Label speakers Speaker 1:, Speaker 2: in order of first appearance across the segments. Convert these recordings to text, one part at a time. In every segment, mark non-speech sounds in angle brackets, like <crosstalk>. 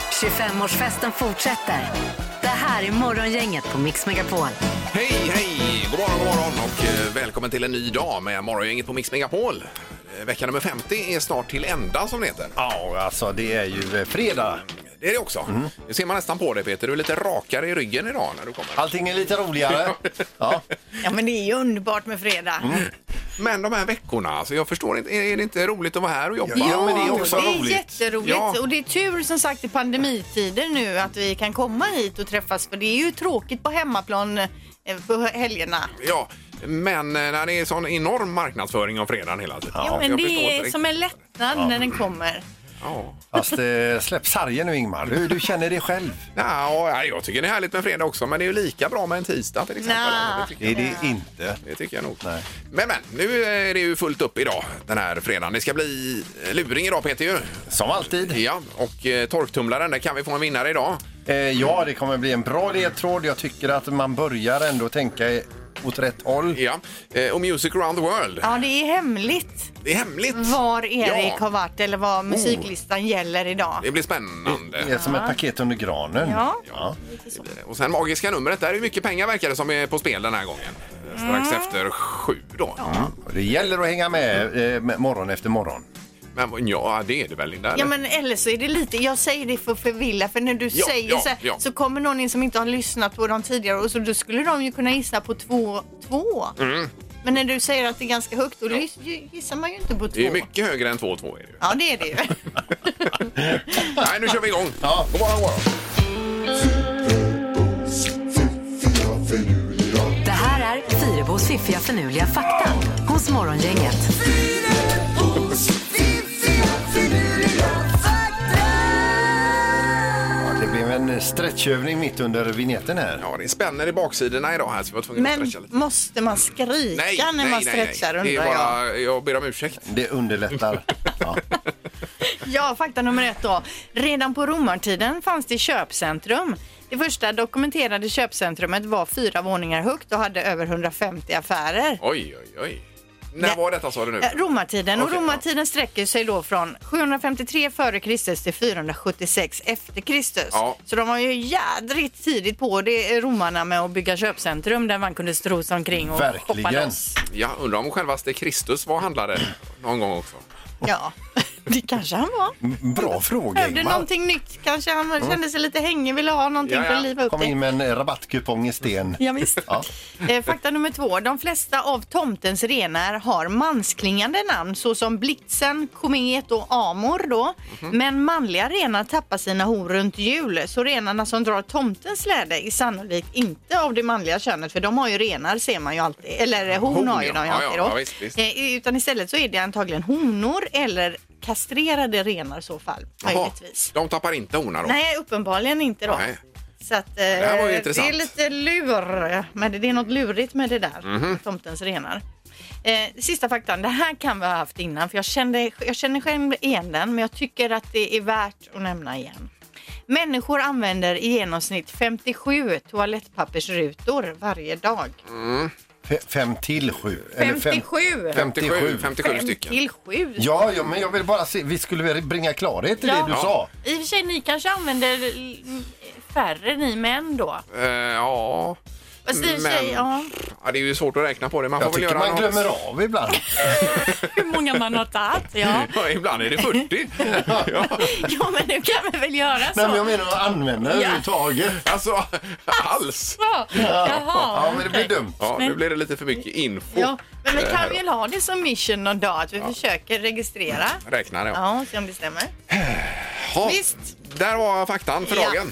Speaker 1: 25-årsfesten fortsätter. Det här är Morgongänget på Mix Megapol.
Speaker 2: Hej, hej! God morgon, god morgon och eh, välkommen till en ny dag med Morgongänget på Mix Megapol. Eh, Vecka nummer 50 är snart till ända som det heter.
Speaker 3: Ja, alltså det är ju eh, fredag.
Speaker 2: Det är det också.
Speaker 3: Mm.
Speaker 2: Det ser man nästan på dig Peter. Du är lite rakare i ryggen idag när du kommer.
Speaker 3: Allting är lite <laughs> roligare. Ja.
Speaker 4: Ja, men det är ju underbart med fredag.
Speaker 3: Mm.
Speaker 2: Men de här veckorna, alltså, jag förstår inte. Är är det inte roligt att vara här och jobba?
Speaker 3: Ja, men det är också
Speaker 4: det är
Speaker 3: roligt.
Speaker 4: jätteroligt.
Speaker 2: Ja.
Speaker 4: Och det är tur som sagt i pandemitider nu att vi kan komma hit och träffas för det är ju tråkigt på hemmaplan eh, på helgerna.
Speaker 2: Ja, men eh, när det är sån enorm marknadsföring om fredagen hela tiden.
Speaker 4: Ja, men
Speaker 2: Jag förstår
Speaker 4: det
Speaker 2: inte
Speaker 4: är
Speaker 2: riktigt.
Speaker 4: som en lättnad när den kommer.
Speaker 2: Ja.
Speaker 3: Fast eh, släpp sargen nu Ingmar. Du, du känner det själv.
Speaker 2: Ja, ja, jag tycker det är härligt med fredag också, men det är ju lika bra med en tisdag till exempel.
Speaker 4: Nja.
Speaker 2: Det tycker
Speaker 3: Det är det inte.
Speaker 2: Det tycker jag nog.
Speaker 3: Nej.
Speaker 2: Men, men, nu är det ju fullt upp idag den här fredagen. Det ska bli luring idag Peter ju.
Speaker 3: Som alltid.
Speaker 2: Ja, och eh, torktumlaren, där kan vi få en vinnare idag.
Speaker 3: Eh, ja, det kommer bli en bra ledtråd. Jag tycker att man börjar ändå tänka i- åt rätt håll.
Speaker 2: Ja. Eh, Och Music around the world.
Speaker 4: Ja, det är hemligt
Speaker 2: Det är hemligt.
Speaker 4: var Erik har
Speaker 2: ja.
Speaker 4: varit eller vad musiklistan gäller idag.
Speaker 2: Det blir
Speaker 3: Oh. Det är
Speaker 2: spännande.
Speaker 3: som ett paket under granen.
Speaker 4: Ja.
Speaker 2: Och sen magiska numret, där är ju mycket pengar verkar det som är på spel den här gången. Eh, Strax
Speaker 4: Mm.
Speaker 2: efter sju då.
Speaker 3: Mm. Och Det gäller att hänga med eh, med- morgon efter morgon.
Speaker 2: Men ja, det är det väl Linda?
Speaker 4: Ja
Speaker 2: eller?
Speaker 4: men eller så är det lite, jag säger det för att förvilla för när du
Speaker 2: Ja,
Speaker 4: säger
Speaker 2: ja,
Speaker 4: så, här,
Speaker 2: ja.
Speaker 4: så kommer någon in som inte har lyssnat på dem tidigare och så då skulle de ju kunna gissa på två. två.
Speaker 2: Mm.
Speaker 4: Men när du säger att det är ganska högt då giss- gissar man ju inte på två.
Speaker 2: Det är mycket högre än 2-2 är det ju.
Speaker 4: Ja det
Speaker 2: <laughs>
Speaker 4: är det ju.
Speaker 2: Nej, nu kör vi igång.
Speaker 3: Ja.
Speaker 2: God morgon, god morgon.
Speaker 1: Det här är Fyrebos fiffiga förnuliga fakta hos Morgongänget.
Speaker 3: Ja, Det blev en stretchövning mitt under vignetten här.
Speaker 2: Ja, det spänner i baksidorna idag här så vi var tvungna att
Speaker 4: Men
Speaker 2: stretcha lite.
Speaker 4: måste man skrika när man stretchar
Speaker 2: nej. Det
Speaker 4: undrar
Speaker 2: är
Speaker 4: jag.
Speaker 2: bara, jag ber om ursäkt.
Speaker 3: Det <laughs> underlättar. Ja.
Speaker 4: Ja, fakta nummer ett då. Redan på romartiden fanns det köpcentrum. Det första dokumenterade köpcentrumet var fyra våningar högt och hade över 150 affärer.
Speaker 2: Oj, oj, oj. När
Speaker 4: Nej.
Speaker 2: var detta sa du nu?
Speaker 4: Eh, Romartiden.
Speaker 2: Okej,
Speaker 4: och romartiden sträcker sig då från 753 före Kristus till 476 efter Kristus.
Speaker 2: Ja.
Speaker 4: Så de var ju jädrigt tidigt på det eh, romarna med att bygga köpcentrum där man kunde strosa omkring och hoppa
Speaker 3: Verkligen.
Speaker 4: loss.
Speaker 2: Ja, undrar om självaste Kristus var handlare någon gång också.
Speaker 4: Ja, <laughs> det kanske han var.
Speaker 2: Mm.
Speaker 3: Bra fråga
Speaker 4: Behövde
Speaker 3: Ingmar.
Speaker 4: någonting nytt kanske. Han kände sig lite hängig, ville ha någonting
Speaker 2: Ja, ja.
Speaker 4: för att liva upp
Speaker 3: Kom
Speaker 4: det.
Speaker 3: in med en rabattkupong i sten.
Speaker 4: Ja, visst.
Speaker 3: Ja.
Speaker 4: Eh, Fakta nummer två. De flesta av tomtens renar har mansklingande namn såsom Blitzen, Komet och Amor. Då.
Speaker 2: Mhm.
Speaker 4: Men manliga renar tappar sina horn runt jul så renarna som drar tomtens läde är sannolikt inte av det manliga könet för de har ju renar ser man ju alltid. Eller eh, horn
Speaker 2: Horn,
Speaker 4: har ju
Speaker 2: ja.
Speaker 4: de ju
Speaker 2: Ja, ja,
Speaker 4: alltid
Speaker 2: ja,
Speaker 4: då.
Speaker 2: visst, visst.
Speaker 4: Eh, Utan istället så är det antagligen honor eller kastrerade renar i så fall. Möjligtvis.
Speaker 2: de tappar inte honan då?
Speaker 4: Nej, uppenbarligen inte då.
Speaker 2: Nej.
Speaker 4: Så att, eh,
Speaker 2: här var ju
Speaker 4: det
Speaker 2: intressant.
Speaker 4: är lite lur, men det, det är något lurigt med det där,
Speaker 2: Mhm.
Speaker 4: med tomtens renar. Eh, sista faktan, det här kan vi ha haft innan för jag, kände, jag känner själv igen den men jag tycker att det är värt att nämna igen. Människor använder i genomsnitt 57 toalettpappersrutor varje dag.
Speaker 2: Mm.
Speaker 3: Fe- Fem till sju. eller fem-
Speaker 4: 57.
Speaker 2: 57, 57
Speaker 4: Fem
Speaker 2: stycken.
Speaker 4: till sju.
Speaker 3: Ja, ja, men jag vill bara se. Vi skulle väl bringa klarhet i
Speaker 4: Ja.
Speaker 3: det du
Speaker 4: Ja.
Speaker 3: sa.
Speaker 4: I och för sig, ni kanske använder l- färre ni män då.
Speaker 2: Eh, ja.
Speaker 4: Fast i och för sig,
Speaker 2: Men-
Speaker 4: ja,
Speaker 2: ja, det är ju svårt att räkna på det. Man
Speaker 3: Jag
Speaker 2: får väl
Speaker 3: tycker
Speaker 2: göra
Speaker 3: man
Speaker 2: något.
Speaker 3: glömmer av <laughs> ibland.
Speaker 4: hur många man har tagit. Ja.
Speaker 2: <laughs> Ja, ibland är
Speaker 3: <laughs>
Speaker 2: det 40. ja.
Speaker 4: Ja, men nu kan vi väl göra så?
Speaker 3: Nej, men jag menar att använda överhuvudtaget.
Speaker 2: Alltså, alls.
Speaker 4: Ja, Jaha.
Speaker 3: Ja, men det blir dumt.
Speaker 2: Ja, nu blir det lite för mycket info. Eh,
Speaker 4: Ja, men vi kan väl ha det som mission någon dag att vi försöker registrera.
Speaker 2: Räknar jag.
Speaker 4: Ja, se om det stämmer.
Speaker 2: Ja.
Speaker 4: visst.
Speaker 2: Där var faktan för
Speaker 4: Ja.
Speaker 2: dagen.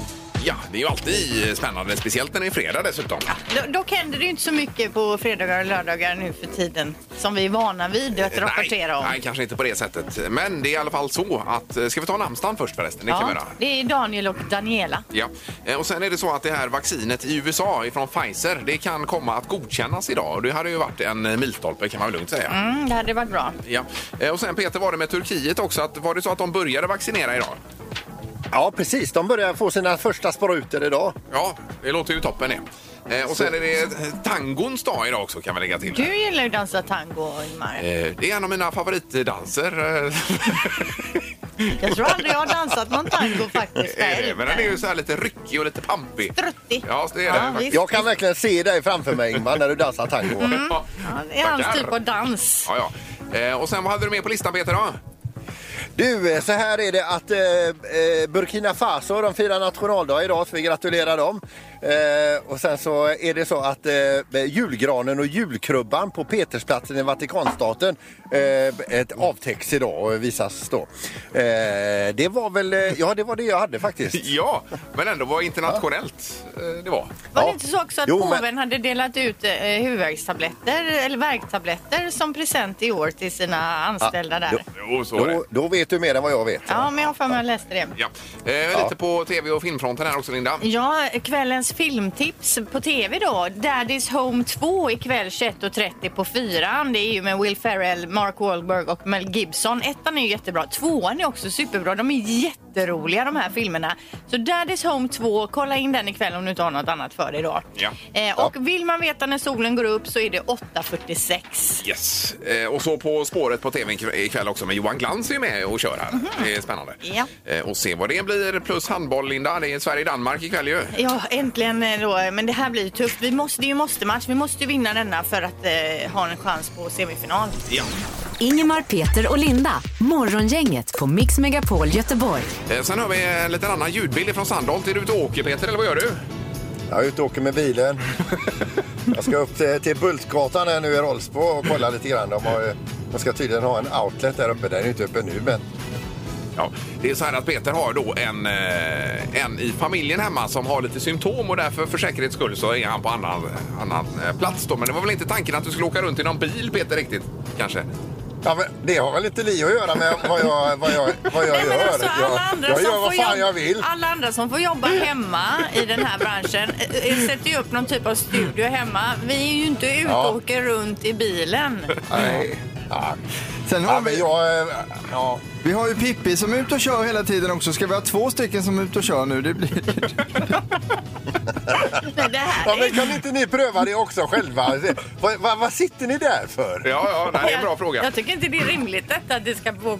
Speaker 2: Ja, det är ju alltid spännande, speciellt när det är fredag dessutom.
Speaker 4: Do- dock händer det ju inte så mycket på fredagar och lördagar nu för tiden som vi är vana vid att rapportera om.
Speaker 2: Nej, nej, kanske inte på det sättet. Men det är i alla fall så att... eh, Ska vi ta namnsdagen först förresten? Det kan vi
Speaker 4: Ja,
Speaker 2: göra.
Speaker 4: det är Daniel och Daniela.
Speaker 2: Ja, Eh, och sen är det så att det här vaccinet i USA ifrån Pfizer, det kan komma att godkännas idag. Och Det hade ju varit en eh, milstolpe kan man väl lugnt säga.
Speaker 4: Mm, det hade varit bra.
Speaker 2: Ja. Eh, Och sen Peter, var det med Turkiet också? Att, var det så att de började vaccinera idag?
Speaker 3: Ja, precis. De börjar få sina första sprutor idag.
Speaker 2: Ja, det låter ju toppen det. Eh, och sen är det tangons dag idag också kan vi lägga till.
Speaker 4: Du gillar ju att dansa tango, Ingmar.
Speaker 2: Eh, det är en av mina favoritdanser. Eh, <laughs>
Speaker 4: Jag tror aldrig jag har dansat någon tango
Speaker 2: <laughs>
Speaker 4: faktiskt.
Speaker 2: är det. Men den är ju så här lite ryckig och lite pampig.
Speaker 4: Struttig.
Speaker 2: Ja, det är
Speaker 4: Ja,
Speaker 2: den.
Speaker 4: visst.
Speaker 2: faktiskt.
Speaker 5: Jag kan verkligen se dig framför mig Ingmar när du dansar tango.
Speaker 3: Mm.
Speaker 2: Ja,
Speaker 4: Mm. Ja, det är hans
Speaker 2: Tackar.
Speaker 4: typ av dans.
Speaker 2: ja, ja. Eh, och sen vad hade du med på listan Peter då?
Speaker 5: Du, eh, så här är det att eh, eh, Burkina Faso, de firar nationaldag idag så vi gratulerar dem. Eh, och sen så är det så att eh, julgranen och julkrubban på Petersplatsen i Vatikanstaten eh, ett avtäcks idag och visas då. Eh, det var väl, eh, ja det var det jag hade faktiskt.
Speaker 2: Ja, men ändå var internationellt eh, det var.
Speaker 4: Var det
Speaker 5: Ja.
Speaker 4: inte så också att
Speaker 5: Jo, men-
Speaker 4: påven hade delat ut eh, huvudvärkstabletter eller värktabletter som present i år till sina anställda där?
Speaker 2: Jo, så var det.
Speaker 5: Då, då vet du mer än vad jag vet.
Speaker 4: Ja, men jag har för mig att jag läste det.
Speaker 2: Ja. Eh, Lite på tv och filmfronten här också Linda.
Speaker 4: Ja, kvällens filmtips på tv då. Daddy's Home 2 ikväll 21.30 på fyran. Det är ju med Will Ferrell, Mark Wahlberg och Mel Gibson. Ettan är ju jättebra. Tvåan är också superbra. De är jätteroliga de här filmerna. Så Daddy's Home 2, kolla in den ikväll om du inte har något annat för dig idag.
Speaker 2: Ja.
Speaker 4: Eh, och vill man veta när solen går upp så är det 8.46.
Speaker 2: Yes. Eh, och så På spåret på tv ikv- ikväll också, men Johan Glans är med och kör här. Det är spännande.
Speaker 4: Mhm. Ja.
Speaker 2: Eh, och se vad det blir, plus handboll, Linda. Det är Sverige-Danmark ikväll ju.
Speaker 4: Ja, äntligen eh, då. Men det här blir ju tufft. Vi måste, det är ju måste-match. Vi måste ju vinna denna för att eh, ha en chans på semifinal.
Speaker 2: Ja.
Speaker 1: Ingemar, Peter och Linda. Morgongänget på Mix Megapol Göteborg.
Speaker 2: Eh, sen har vi en liten annan ljudbild från Sandholt. Är du ute och åker, Peter, eller vad gör du?
Speaker 5: Jag är ute och åker med bilen. Jag ska upp till, till Bultgatan här nu i Rolfsbo och kolla lite grann. De, har, ju- de ska tydligen ha en outlet där uppe. Den är inte uppe nu men
Speaker 2: Ja, det är så här att Peter har då en, eh, en i familjen hemma som har lite symptom och därför för säkerhets skull så är han på annan, annan eh, plats då. Men det var väl inte tanken att du skulle åka runt i någon bil Peter riktigt? Kanske?
Speaker 5: Ja, men det har väl inte li att göra med vad jag, vad jag, vad jag
Speaker 4: Nej,
Speaker 5: gör.
Speaker 4: men alltså, alla, andra
Speaker 5: jag, jag
Speaker 4: som
Speaker 5: gör vad
Speaker 4: får
Speaker 5: fan
Speaker 4: jobba,
Speaker 5: jag vill.
Speaker 4: alla andra som får jobba hemma i den här branschen eh, eh, sätter ju upp någon typ av studio hemma. Vi är ju inte ute
Speaker 5: Ja.
Speaker 4: och åker runt
Speaker 5: <laughs>
Speaker 4: i bilen.
Speaker 5: Nej. Ja.
Speaker 6: Sen
Speaker 5: Ja,
Speaker 6: har
Speaker 5: men
Speaker 6: vi,
Speaker 5: jag, eh, ja.
Speaker 6: vi har ju Pippi som är ute och kör hela tiden också. Ska vi ha två stycken som är ute och kör nu? Det blir...
Speaker 5: <laughs>
Speaker 4: Nej, Det här
Speaker 5: ja,
Speaker 4: är
Speaker 5: men kan inte ni pröva det också
Speaker 4: <laughs>
Speaker 5: själva? Vad, vad, vad sitter ni där för?
Speaker 2: Ja, ja, nej, det är en bra
Speaker 4: Jag,
Speaker 2: fråga.
Speaker 4: jag tycker inte det är rimligt detta, att det ska få-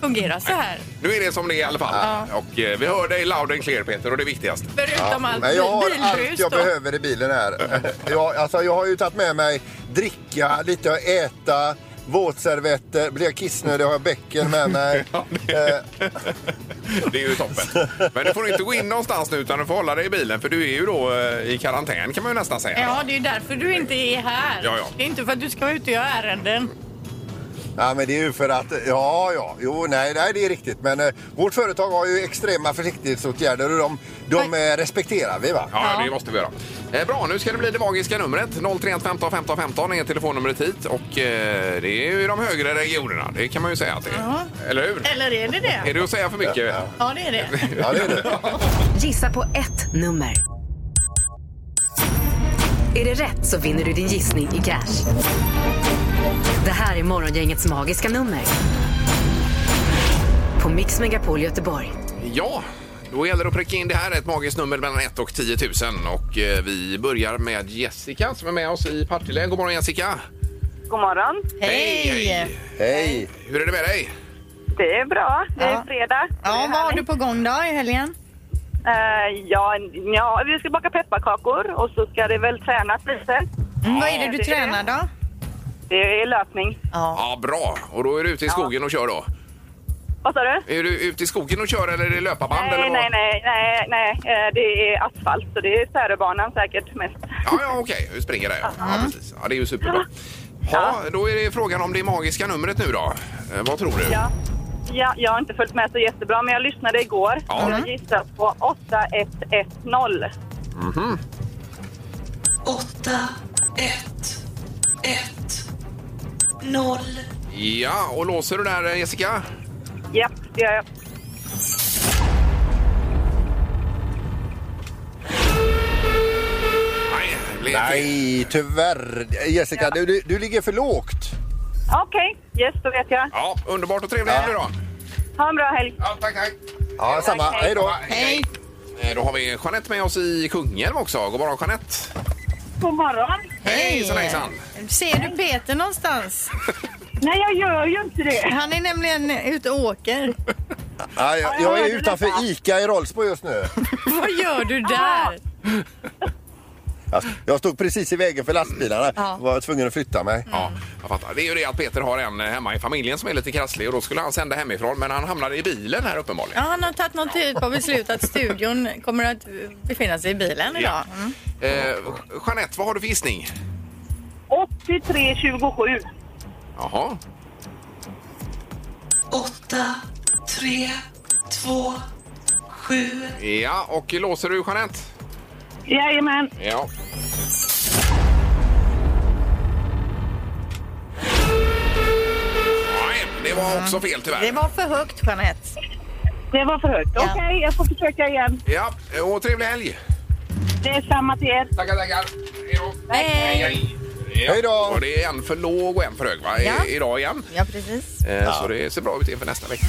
Speaker 4: fungera så här.
Speaker 2: Nu är det som det är i alla fall. Och eh, vi hör dig loud and clear Peter och det är viktigast.
Speaker 4: Förutom allt
Speaker 5: Men jag har
Speaker 4: bilbrus
Speaker 5: allt jag
Speaker 4: då.
Speaker 5: behöver i bilen här. <laughs> Jag, alltså, jag har ju tagit med mig dricka, lite att äta, våtservetter. Blir jag kissnödig har jag bäcken med mig. Eh,
Speaker 2: Det är ju toppen. Men du får inte gå in någonstans nu utan du får hålla dig i bilen för du är ju då eh, i karantän kan man ju nästan säga.
Speaker 4: Ja, det är ju därför du inte är här.
Speaker 2: Ja, ja.
Speaker 4: Det är inte för att du ska vara ute och göra ärenden.
Speaker 5: Ja, men det är ju för att... Ja, ja. Jo, nej, nej det är riktigt. Men eh, vårt företag har ju extrema försiktighetsåtgärder och de, de eh, respekterar vi, va?
Speaker 2: Ja,
Speaker 4: Ja.
Speaker 2: det måste vi göra. Eh, bra, nu ska det bli det magiska numret. 031 15 15 15 är telefonnumret hit. Och eh, det är ju de högre regionerna, det kan man ju säga att det är. Eller hur?
Speaker 4: Eller är det
Speaker 2: Är
Speaker 4: det?
Speaker 2: det att säga för mycket?
Speaker 4: Ja, det
Speaker 5: <laughs>
Speaker 4: är det.
Speaker 5: Ja, det är det.
Speaker 1: Gissa på ett nummer. Är det rätt så vinner du din gissning i cash. Det här är Morgongängets magiska nummer. På Mix Megapol Göteborg.
Speaker 2: Ja, då gäller det att pricka in det här. Ett magiskt nummer mellan 1 och 10 000. Och eh, vi börjar med Jessica som är med oss i Partille. God morgon Jessica!
Speaker 7: God morgon.
Speaker 4: Hej!
Speaker 5: Hej!
Speaker 2: Hur är det med dig?
Speaker 7: Det är bra. Det är
Speaker 4: Ja.
Speaker 7: fredag.
Speaker 4: Ja, vad har du på gång då i helgen?
Speaker 7: Eh, ja, ja, vi ska baka pepparkakor och så ska det väl tränas lite.
Speaker 4: Mm, vad är det du
Speaker 7: det är
Speaker 4: tränar då?
Speaker 7: Det är löpning.
Speaker 4: Ja.
Speaker 2: Ja, bra. Och då är du ute i skogen och kör då?
Speaker 7: Vad sa du?
Speaker 2: Är du ute i skogen och kör eller är det löparband? eller
Speaker 7: Nej,
Speaker 2: vad?
Speaker 7: nej, nej, nej, nej. Eh, det är asfalt så det är Säröbanan säkert mest.
Speaker 2: Ja, ja okej. Du springer där, ja. ja. precis. Ja, det är ju superbra. Ja, då är det frågan om det magiska numret nu då. Eh, vad tror du?
Speaker 7: Ja. Ja, jag har inte följt med så jättebra, men jag lyssnade igår.
Speaker 2: Ja.
Speaker 7: Jag gissar på 8110.
Speaker 8: 8, 1, 1, 0.
Speaker 2: Ja, och låser du där eh, Jessica?
Speaker 7: Japp, det gör jag.
Speaker 2: Nej, det blev fel.
Speaker 5: Nej, tyvärr. Jessica, du, du, du ligger för lågt.
Speaker 7: Okej, yes, då vet jag.
Speaker 2: Ja, underbart och trevlig helg nu då.
Speaker 7: Ha en bra helg.
Speaker 2: Ja, tack, tack.
Speaker 5: Ja, samma. Hej då.
Speaker 2: Hej. Eh, Då har vi Jeanette med oss i Kungälv också. God morgon Jeanette!
Speaker 7: God morgon.
Speaker 2: Hejsan hejsan!
Speaker 4: Ser du Peter någonstans?
Speaker 7: Nej, jag gör ju inte det.
Speaker 4: Han är nämligen ute och åker.
Speaker 5: Ja, jag, jag är utanför ICA i Rolfsborg just nu.
Speaker 4: Vad gör du där?
Speaker 5: Jag- Alltså, Jag stod precis i vägen för lastbilarna.
Speaker 4: Ja.
Speaker 5: Var tvungen att flytta mig.
Speaker 2: Ja, jag fattar. Det är ju det att Peter har en eh, hemma i familjen som är lite krasslig och då skulle han sända hemifrån men han hamnade i bilen här
Speaker 4: Ja,
Speaker 2: uppenbarligen.
Speaker 4: han har tagit någon typ av beslut att studion kommer att befinna sig i bilen idag. Mm.
Speaker 2: Eh, Jeanette, vad har du för gissning?
Speaker 7: 83 27.
Speaker 2: Jaha.
Speaker 8: 8, 3, 2, 7.
Speaker 2: Ja, och låser du Jeanette?
Speaker 7: Jajamän.
Speaker 2: Ja. Nej, det var också fel tyvärr.
Speaker 4: Mm. Det var för högt, Jeanette.
Speaker 7: Det var för högt. Okej, jag får försöka igen.
Speaker 2: Ja, och trevlig helg!
Speaker 7: Det är samma till er.
Speaker 2: Tackar, tackar! Hej då!
Speaker 4: Hej.
Speaker 2: Ja,
Speaker 5: Hej då.
Speaker 2: Och det är en för låg och en för hög va? I,
Speaker 4: Ja.
Speaker 2: idag igen.
Speaker 4: Ja, precis.
Speaker 2: Eh, Så det ser bra ut inför nästa vecka.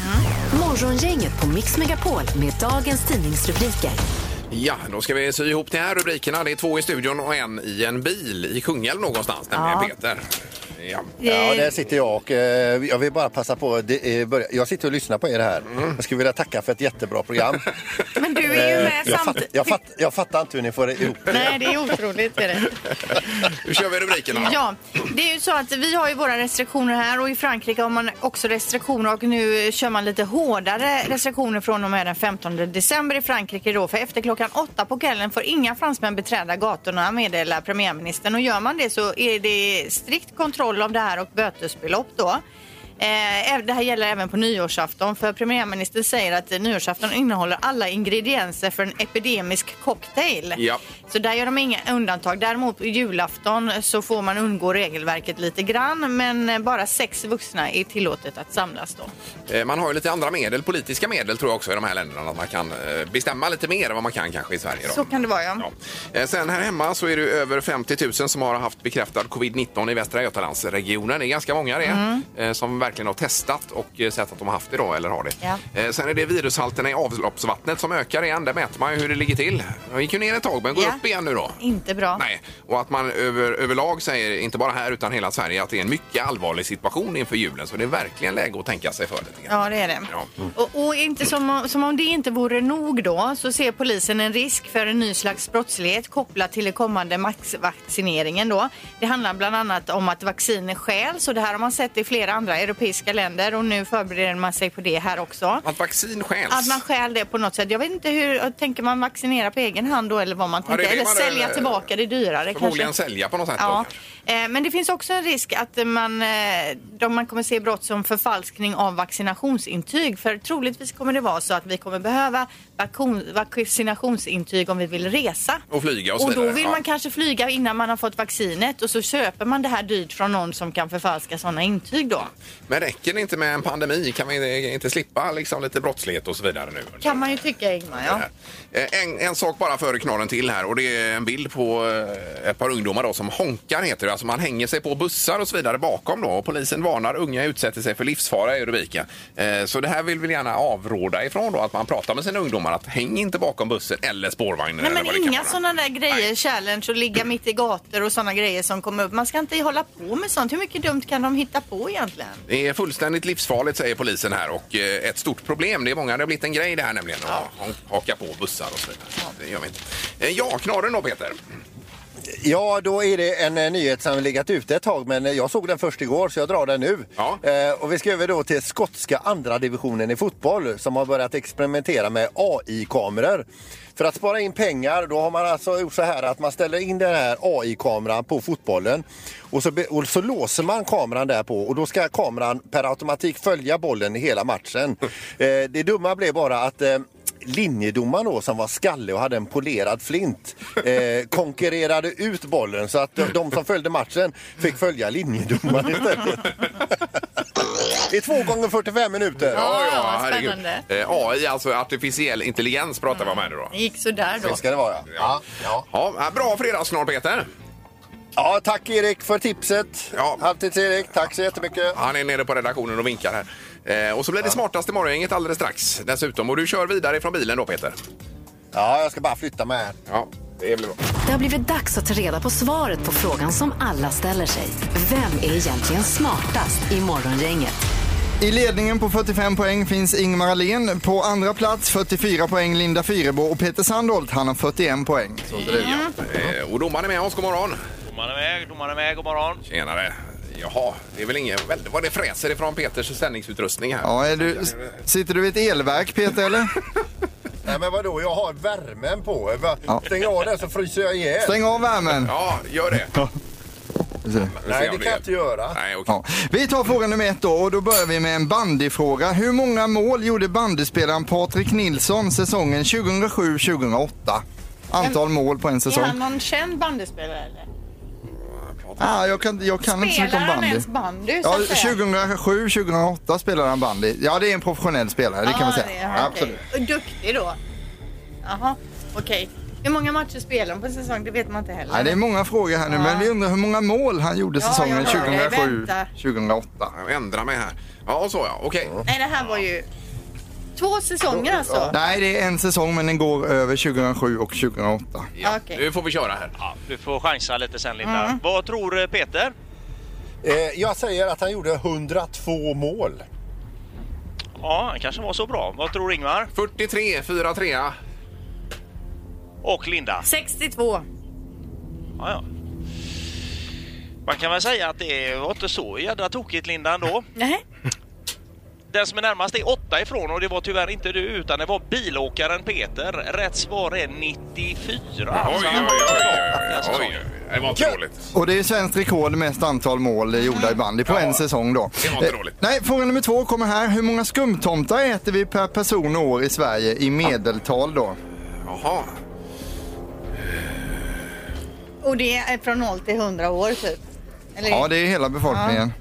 Speaker 1: Morgongänget på Mix Megapol med dagens tidningsrubriker.
Speaker 2: Ja, då ska vi sy ihop de här rubrikerna. Det är två i studion och en i en bil i Kungälv någonstans, nämligen Peter. Ja.
Speaker 5: Ja, där sitter jag och eh, jag vill bara passa på. att Det, eh, börja. Jag sitter och lyssnar på er här. Jag skulle vilja tacka för ett jättebra
Speaker 4: <laughs>
Speaker 5: program. Eh,
Speaker 4: Men du är ju med
Speaker 5: jag, fatt,
Speaker 4: samtidigt.
Speaker 5: jag, fatt, jag fattar inte hur ni får det ihop.
Speaker 4: Nej, det är otroligt. Är det.
Speaker 2: Nu kör vi rubrikerna. då.
Speaker 4: Ja, det är ju så att vi har ju våra restriktioner här och i Frankrike har man också restriktioner och nu kör man lite hårdare restriktioner från och med den 15 december i Frankrike då för efter klockan åtta på kvällen får inga fransmän beträda gatorna meddelar premiärministern och gör man det så är det strikt kontroll av det här och bötesbelopp då. Eh, även- Det här gäller även på nyårsafton för premiärministern säger att eh, nyårsafton innehåller alla ingredienser för en epidemisk cocktail.
Speaker 2: Ja.
Speaker 4: <laughs> Så där gör de inga undantag. Däremot på julafton så får man undgå regelverket lite grann men eh, bara sex vuxna är tillåtet att samlas då.
Speaker 2: Eh, Man har ju lite andra medel, politiska medel tror jag också i de här länderna. Att man kan eh, bestämma lite mer än vad man kan kanske i Sverige. Då.
Speaker 4: Så kan det vara ja.
Speaker 2: Ja. Eh, Sen här hemma så är det ju över 50 000 som har haft bekräftad covid-19 i Västra Götalandsregionen. Det är ganska många det
Speaker 4: Mm.
Speaker 2: eh, som verkligen har testat och eh, sett att de har haft det då eller har det.
Speaker 4: Ja.
Speaker 2: Eh, Sen är det virushalterna i avloppsvattnet som ökar igen. Där mäter man ju hur det ligger till. De gick ju ner ett tag men går
Speaker 4: Ja.
Speaker 2: upp igen nu då.
Speaker 4: Inte bra.
Speaker 2: Nej, och att man över, överlag säger, inte bara här utan hela Sverige, att det är en mycket allvarlig situation inför julen. Så det är verkligen läge att tänka sig för lite grann.
Speaker 4: Ja, det är det.
Speaker 2: Ja.
Speaker 4: Och, och inte som, om- som om det inte vore nog då så ser polisen en risk för en ny slags brottslighet kopplat till den kommande maxvaccineringen då. Det handlar bland annat om att vacciner stjäls och det här har man sett i flera andra europeiska länder och nu förbereder man sig på det här också.
Speaker 2: Att vaccin stjäls.
Speaker 4: Att man stjäl det på något sätt. Jag vet inte hur, tänker man vaccinera på egen hand då eller vad man
Speaker 2: Ja, det är
Speaker 4: tänker?
Speaker 2: det
Speaker 4: eller
Speaker 2: man- eh,
Speaker 4: sälja tillbaka det dyrare
Speaker 2: Förmodligen
Speaker 4: kanske?
Speaker 2: sälja på något sätt.
Speaker 4: Ja,
Speaker 2: Då, kanske.
Speaker 4: eh, men det finns också en risk att eh, man, eh, de man kommer se brott som förfalskning av vaccinationsintyg. För troligtvis kommer det vara så att vi kommer behöva vakon- vaccinationsintyg om vi vill resa.
Speaker 2: Och flyga och så
Speaker 4: Och då
Speaker 2: vidare,
Speaker 4: vill
Speaker 2: ja.
Speaker 4: man kanske flyga innan man har fått vaccinet och så köper man det här dyrt från någon som kan förfalska sådana intyg då.
Speaker 2: Men räcker det inte med en pandemi? Kan vi inte slippa liksom, lite brottslighet och så vidare nu?
Speaker 4: Kan man ju tycka Ingmar, ja.
Speaker 2: Eh, En, en sak bara före knorren till här och det är en bild på eh, ett par ungdomar då som honkar heter det. Alltså man hänger sig på bussar och så vidare bakom då och polisen varnar unga utsätter sig för livsfara i rubriken. Eh, Så det här vill vi gärna avråda ifrån då att man pratar med sina ungdomar att häng inte bakom bussen eller spårvagnen.
Speaker 4: Nej,
Speaker 2: eller
Speaker 4: men
Speaker 2: vad det kan
Speaker 4: inga
Speaker 2: vara.
Speaker 4: sådana där grejer, challenge och ligga mitt i gator och sådana grejer som kommer upp. Man ska inte hålla på med sånt. Hur mycket dumt kan de hitta på egentligen?
Speaker 2: Det är fullständigt livsfarligt säger polisen här och eh, ett stort problem. Det är många, det har blivit en grej det här nämligen. Att hon- haka på bussar och så vidare. Det gör vi inte. Eh, Ja, knorren då Peter.
Speaker 5: Ja, då är det en eh, nyhet som har legat ute ett tag, men eh, jag såg den först igår så jag drar den nu.
Speaker 2: Ja.
Speaker 5: Eh, och vi ska över då till skotska andra divisionen i fotboll som har börjat experimentera med AI-kameror. För att spara in pengar, då har man alltså gjort så här att man ställer in den här AI-kameran på fotbollen och så, be- och så låser man kameran där på och då ska kameran per automatik följa bollen i hela matchen. eh, det dumma blev bara att eh, linjedomaren då som var skallig och hade en polerad flint eh, konkurrerade ut bollen så att de som följde matchen fick följa linjedomaren istället. I två gånger 45 minuter.
Speaker 4: Ja,
Speaker 2: ja,
Speaker 4: vad
Speaker 2: herregud.
Speaker 4: spännande. Mm.
Speaker 2: Eh, AI, alltså artificiell intelligens pratar vi om här nu då.
Speaker 4: Det gick sådär då.
Speaker 5: Så ska det vara. Ja. Ja.
Speaker 2: Ja, eh, bra fredagsknorr Peter.
Speaker 5: Ja, tack Erik för tipset.
Speaker 2: Ja.
Speaker 5: Halvtids-Erik, tack så jättemycket.
Speaker 2: Han är nere på redaktionen och vinkar här. Eh, och så blir det smartaste morgongänget alldeles strax dessutom. Och du kör vidare från bilen då Peter.
Speaker 5: Ja, jag ska bara flytta mig här.
Speaker 2: Ja, det blir bra.
Speaker 1: Det har blivit dags att ta reda på svaret på frågan som alla ställer sig. Vem är egentligen smartast i Morgongänget?
Speaker 6: I ledningen på 45 poäng finns Ingmar Ahlén. På andra plats 44 poäng Linda Fyrebo och Peter Sandholt, han har 41 poäng.
Speaker 2: Eh, Och domaren är med oss, god morgon.
Speaker 9: Domaren är med, domaren är med, god morgon.
Speaker 2: Tjenare. Jaha, det är väl ingen väldigt vad det fräser ifrån Peters sändningsutrustning här.
Speaker 6: Ja, är du, s- sitter du vid ett elverk Peter eller?
Speaker 5: Nej, men vadå? Jag har värmen på. Va-
Speaker 6: Ja.
Speaker 5: Stänger jag av den så fryser jag ihjäl.
Speaker 6: Stäng av värmen.
Speaker 2: Ja, gör det.
Speaker 6: Vi ser.
Speaker 2: Vi
Speaker 5: Nej,
Speaker 2: ser om
Speaker 5: det kan jag inte göra.
Speaker 2: Nej, okej.
Speaker 6: Ja. Vi tar fråga nummer ett då och då börjar vi med en bandyfråga. Hur många mål gjorde bandyspelaren Patrik Nilsson säsongen 2007-2008? Antal mål på en
Speaker 4: Är han
Speaker 6: säsong.
Speaker 4: någon känd bandyspelare eller?
Speaker 6: Ah, jag kan, jag kan inte så mycket om
Speaker 4: Spelar han
Speaker 6: bandy.
Speaker 4: ens bandy? så
Speaker 6: Ja,
Speaker 4: att säga?
Speaker 6: 2007-2008 spelade han bandy. Ja, det är en professionell spelare, det kan man
Speaker 4: Ja, det är
Speaker 6: säga.
Speaker 4: han,
Speaker 6: Absolut.
Speaker 4: okej. Och Duktig då? Jaha, okej. Hur många matcher spelar han på säsong? Det vet man inte heller.
Speaker 6: Nej, det är många frågor här nu, men vi undrar hur många mål han gjorde
Speaker 4: Ja,
Speaker 6: säsongen
Speaker 4: jag hör dig. Vänta.
Speaker 6: 2007-2008.
Speaker 2: Jag ändrar mig här. Ja, och så ja. Okej.
Speaker 4: Nej, det här var ju två säsonger alltså.
Speaker 6: Nej, det är en säsong, men den går över 2007 och 2008.
Speaker 2: Ja,
Speaker 4: Okej.
Speaker 2: Nu får vi köra här.
Speaker 9: Ja, du får chansa lite sen Linda. Vad tror eh, Peter?
Speaker 5: Eh, jag säger att han gjorde 102 mål.
Speaker 9: Ja, han kanske var så bra. Vad tror Ingmar?
Speaker 2: 43, 4, 3.
Speaker 9: Och Linda?
Speaker 4: 62.
Speaker 9: Ja, ja. Man kan väl säga att det var inte så jädra tokigt Linda ändå.
Speaker 4: Nej.
Speaker 9: Den som är närmast är åtta ifrån och det var tyvärr inte du utan det var bilåkaren Peter. Rätt svar är Alltså, 94.
Speaker 2: Oj, oj, oj, oj, oj, oj. Det var inte dåligt.
Speaker 6: Och det är svenskt rekord mest antal mål eh, gjorda i bandy på
Speaker 2: Mm. Ja.
Speaker 6: en säsong då.
Speaker 2: Det var inte
Speaker 6: Eh,
Speaker 2: dåligt.
Speaker 6: Nej, fråga nummer två kommer här. Hur många skumtomtar äter vi per person och år i Sverige i medeltal då?
Speaker 2: Jaha.
Speaker 4: Och det är från 0 till 100 år typ? Eller?
Speaker 6: Ja, det är hela befolkningen.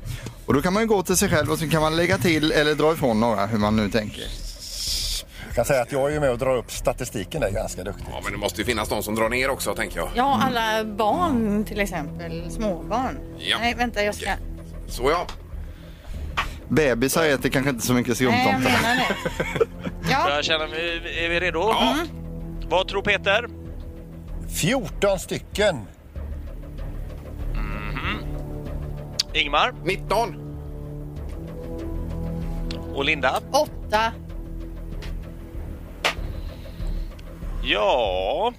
Speaker 6: Och då kan man ju gå till sig själv och så kan man lägga till eller dra ifrån några, hur man nu tänker.
Speaker 5: Jag kan säga att jag är ju med och drar upp statistiken där ganska duktigt.
Speaker 2: Ja, men det måste ju finnas någon som drar ner också, tänker jag.
Speaker 4: Ja, alla barn till exempel. Småbarn.
Speaker 2: Ja.
Speaker 4: Nej, vänta jag ska...
Speaker 2: Okej. Så ja.
Speaker 6: Bebisar äter kanske inte så mycket
Speaker 4: Nej, jag
Speaker 6: skumtomtar.
Speaker 4: menar det.
Speaker 2: <laughs>
Speaker 4: Ja,
Speaker 9: Jag känner, är vi redo?
Speaker 2: Ja.
Speaker 9: Vad tror Peter?
Speaker 5: 14 stycken.
Speaker 9: Ingmar
Speaker 2: 19.
Speaker 9: och Linda?
Speaker 4: åtta.
Speaker 9: Ja,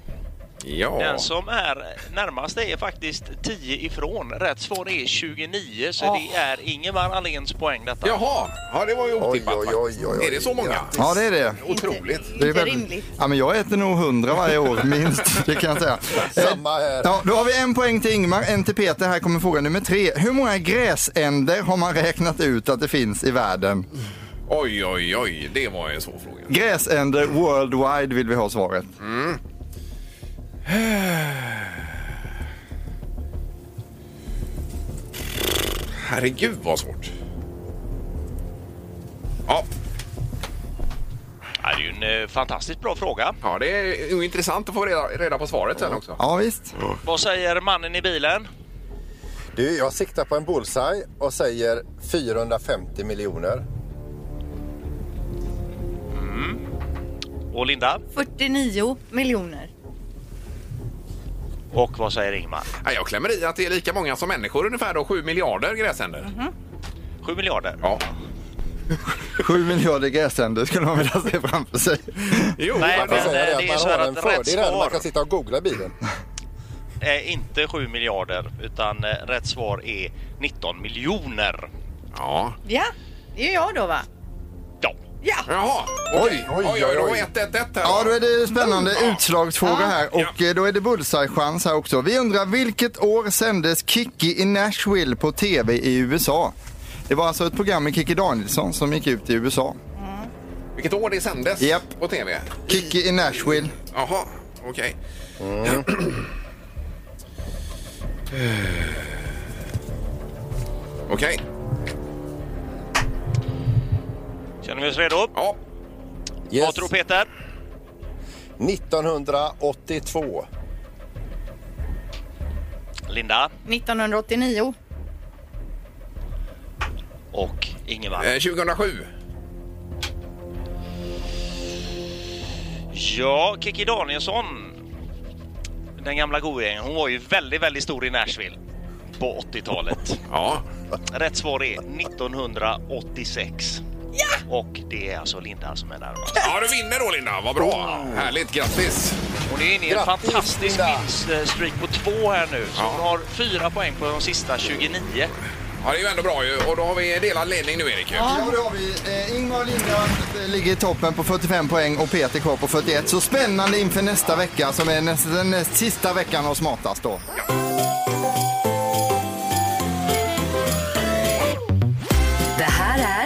Speaker 2: Ja.
Speaker 9: den som är närmast är faktiskt 10 ifrån. Rätt svar är 29 så det är Ingemar Ahléns poäng detta.
Speaker 2: Jaha. Ja, det var ju otippat.
Speaker 5: Oj, oj, oj, oj, oj.
Speaker 2: Är det så många?
Speaker 6: Ja, det är det.
Speaker 2: Otroligt.
Speaker 6: Det är
Speaker 4: Inte
Speaker 6: väldigt-
Speaker 4: rimligt.
Speaker 6: Ja, men jag äter nog hundra
Speaker 4: <laughs>
Speaker 6: varje år, minst. Det kan jag säga.
Speaker 5: Samma här.
Speaker 6: Ja, då har vi en poäng till Ingmar, en till Peter. Här kommer fråga nummer tre. Hur många gräsänder har man räknat ut att det finns i världen?
Speaker 2: Oj, oj, oj. Det var en svår fråga.
Speaker 6: Gräsänder worldwide vill vi ha svaret.
Speaker 2: Herregud, vad svårt. Ja,
Speaker 9: Det är ju en eh, fantastiskt bra fråga.
Speaker 2: ja det är ju intressant att få reda, reda på svaret sen också.
Speaker 6: Ja, visst.
Speaker 9: Vad säger mannen i bilen?
Speaker 5: Du, jag siktar på en bullseye och säger 450 miljoner.
Speaker 9: Och Linda?
Speaker 4: 49 miljoner.
Speaker 9: Och vad säger Ingmar?
Speaker 2: Nej, jag klämmer i att det är lika många som människor ungefär då, 7 miljarder gräsänder.
Speaker 9: 7 miljarder.
Speaker 2: Ja.
Speaker 6: Sju miljarder gräsänder skulle man vilja se framför sig.
Speaker 2: Jo,
Speaker 9: Nej,
Speaker 2: varför
Speaker 9: men-
Speaker 2: så?
Speaker 5: Säger det
Speaker 9: eh, det
Speaker 5: att
Speaker 9: är
Speaker 5: man
Speaker 9: så
Speaker 5: har
Speaker 9: här
Speaker 5: en
Speaker 9: att rätt
Speaker 5: fördel här, man
Speaker 9: svar-
Speaker 5: kan sitta och googla bilen.
Speaker 9: Är Eh, inte 7 miljarder utan eh, rätt svar är 19 miljoner.
Speaker 2: Ja.
Speaker 4: Ja, det är jag då va?
Speaker 9: Ja.
Speaker 4: Ja!
Speaker 2: Jaha. Oj, oj, oj. oj, oj. 1-1-1 här.
Speaker 6: Ja, då är det spännande utslagsfråga här och
Speaker 2: Ja.
Speaker 6: eh, då är det bullseye-chans här också. Vi undrar vilket år sändes Kikki i Nashville på TV i USA? Det var alltså ett program med Kikki Danielsson som gick ut i USA.
Speaker 2: Vilket år det sändes
Speaker 6: Japp.
Speaker 2: på tv?
Speaker 6: Kikki i Nashville.
Speaker 2: Jaha, okej. Mm. okej,
Speaker 9: Känner vi oss redo?
Speaker 2: ja.
Speaker 9: Vad tror Peter?
Speaker 5: 1982.
Speaker 9: Linda
Speaker 4: 1989.
Speaker 9: och Ingemar.
Speaker 2: Eh, 2007.
Speaker 9: Ja, Kiki Danielsson, den gamla godingen, hon var ju väldigt, väldigt stor i Nashville på 80-talet.
Speaker 2: Ja.
Speaker 9: Rätt svar är 1986. Och det är alltså Linda som är närmast.
Speaker 2: ja, du vinner då Linda. Vad bra. Härligt, grattis.
Speaker 9: Hon är inne i en
Speaker 10: Grattis,
Speaker 9: fantastisk
Speaker 10: Linda.
Speaker 9: vinststreak på två här nu. Så
Speaker 2: Ja.
Speaker 9: hon har fyra poäng på de sista 29.
Speaker 2: Ja, det är ju ändå bra ju. Och då har vi delad ledning nu Erik. ju.
Speaker 6: Ja, det har vi. Eh, Ingmar och Linda eh, ligger i toppen på 45 poäng och Peter kvar på 41. Så spännande inför nästa vecka som är näst, den näst sista veckan av Smartast då.
Speaker 1: Det här är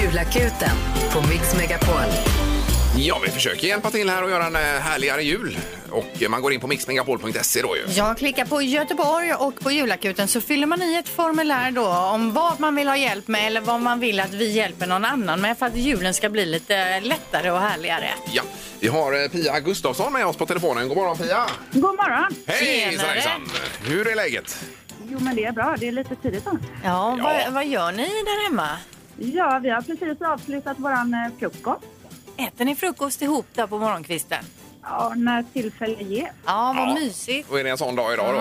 Speaker 1: Julakuten på Mix Megapol.
Speaker 2: Ja, vi försöker hjälpa till här och göra en eh, härligare jul. Och eh, man går in på mixmegapol.se då ju.
Speaker 4: Jag klickar på Göteborg och på julakuten så fyller man i ett formulär då om vad man vill ha hjälp med eller vad man vill att vi hjälper någon annan med för att julen ska bli lite lättare och härligare.
Speaker 2: Ja, vi har eh, Pia Gustafsson med oss på telefonen. God morgon Pia!
Speaker 7: God morgon!
Speaker 2: Hej hejsan,
Speaker 4: Tjenare.
Speaker 2: hejsan! Hur är läget?
Speaker 7: Jo, men det är bra. Det är lite tidigt då.
Speaker 4: Ja,
Speaker 2: Ja.
Speaker 4: Vad, vad gör ni där hemma?
Speaker 7: Ja, vi har precis avslutat våran eh, frukost.
Speaker 4: Äter ni frukost ihop där på morgonkvisten?
Speaker 7: Ja, när tillfälle ges.
Speaker 4: Ja, vad
Speaker 2: Ja.
Speaker 4: mysigt.
Speaker 2: Och är det en sån dag idag då?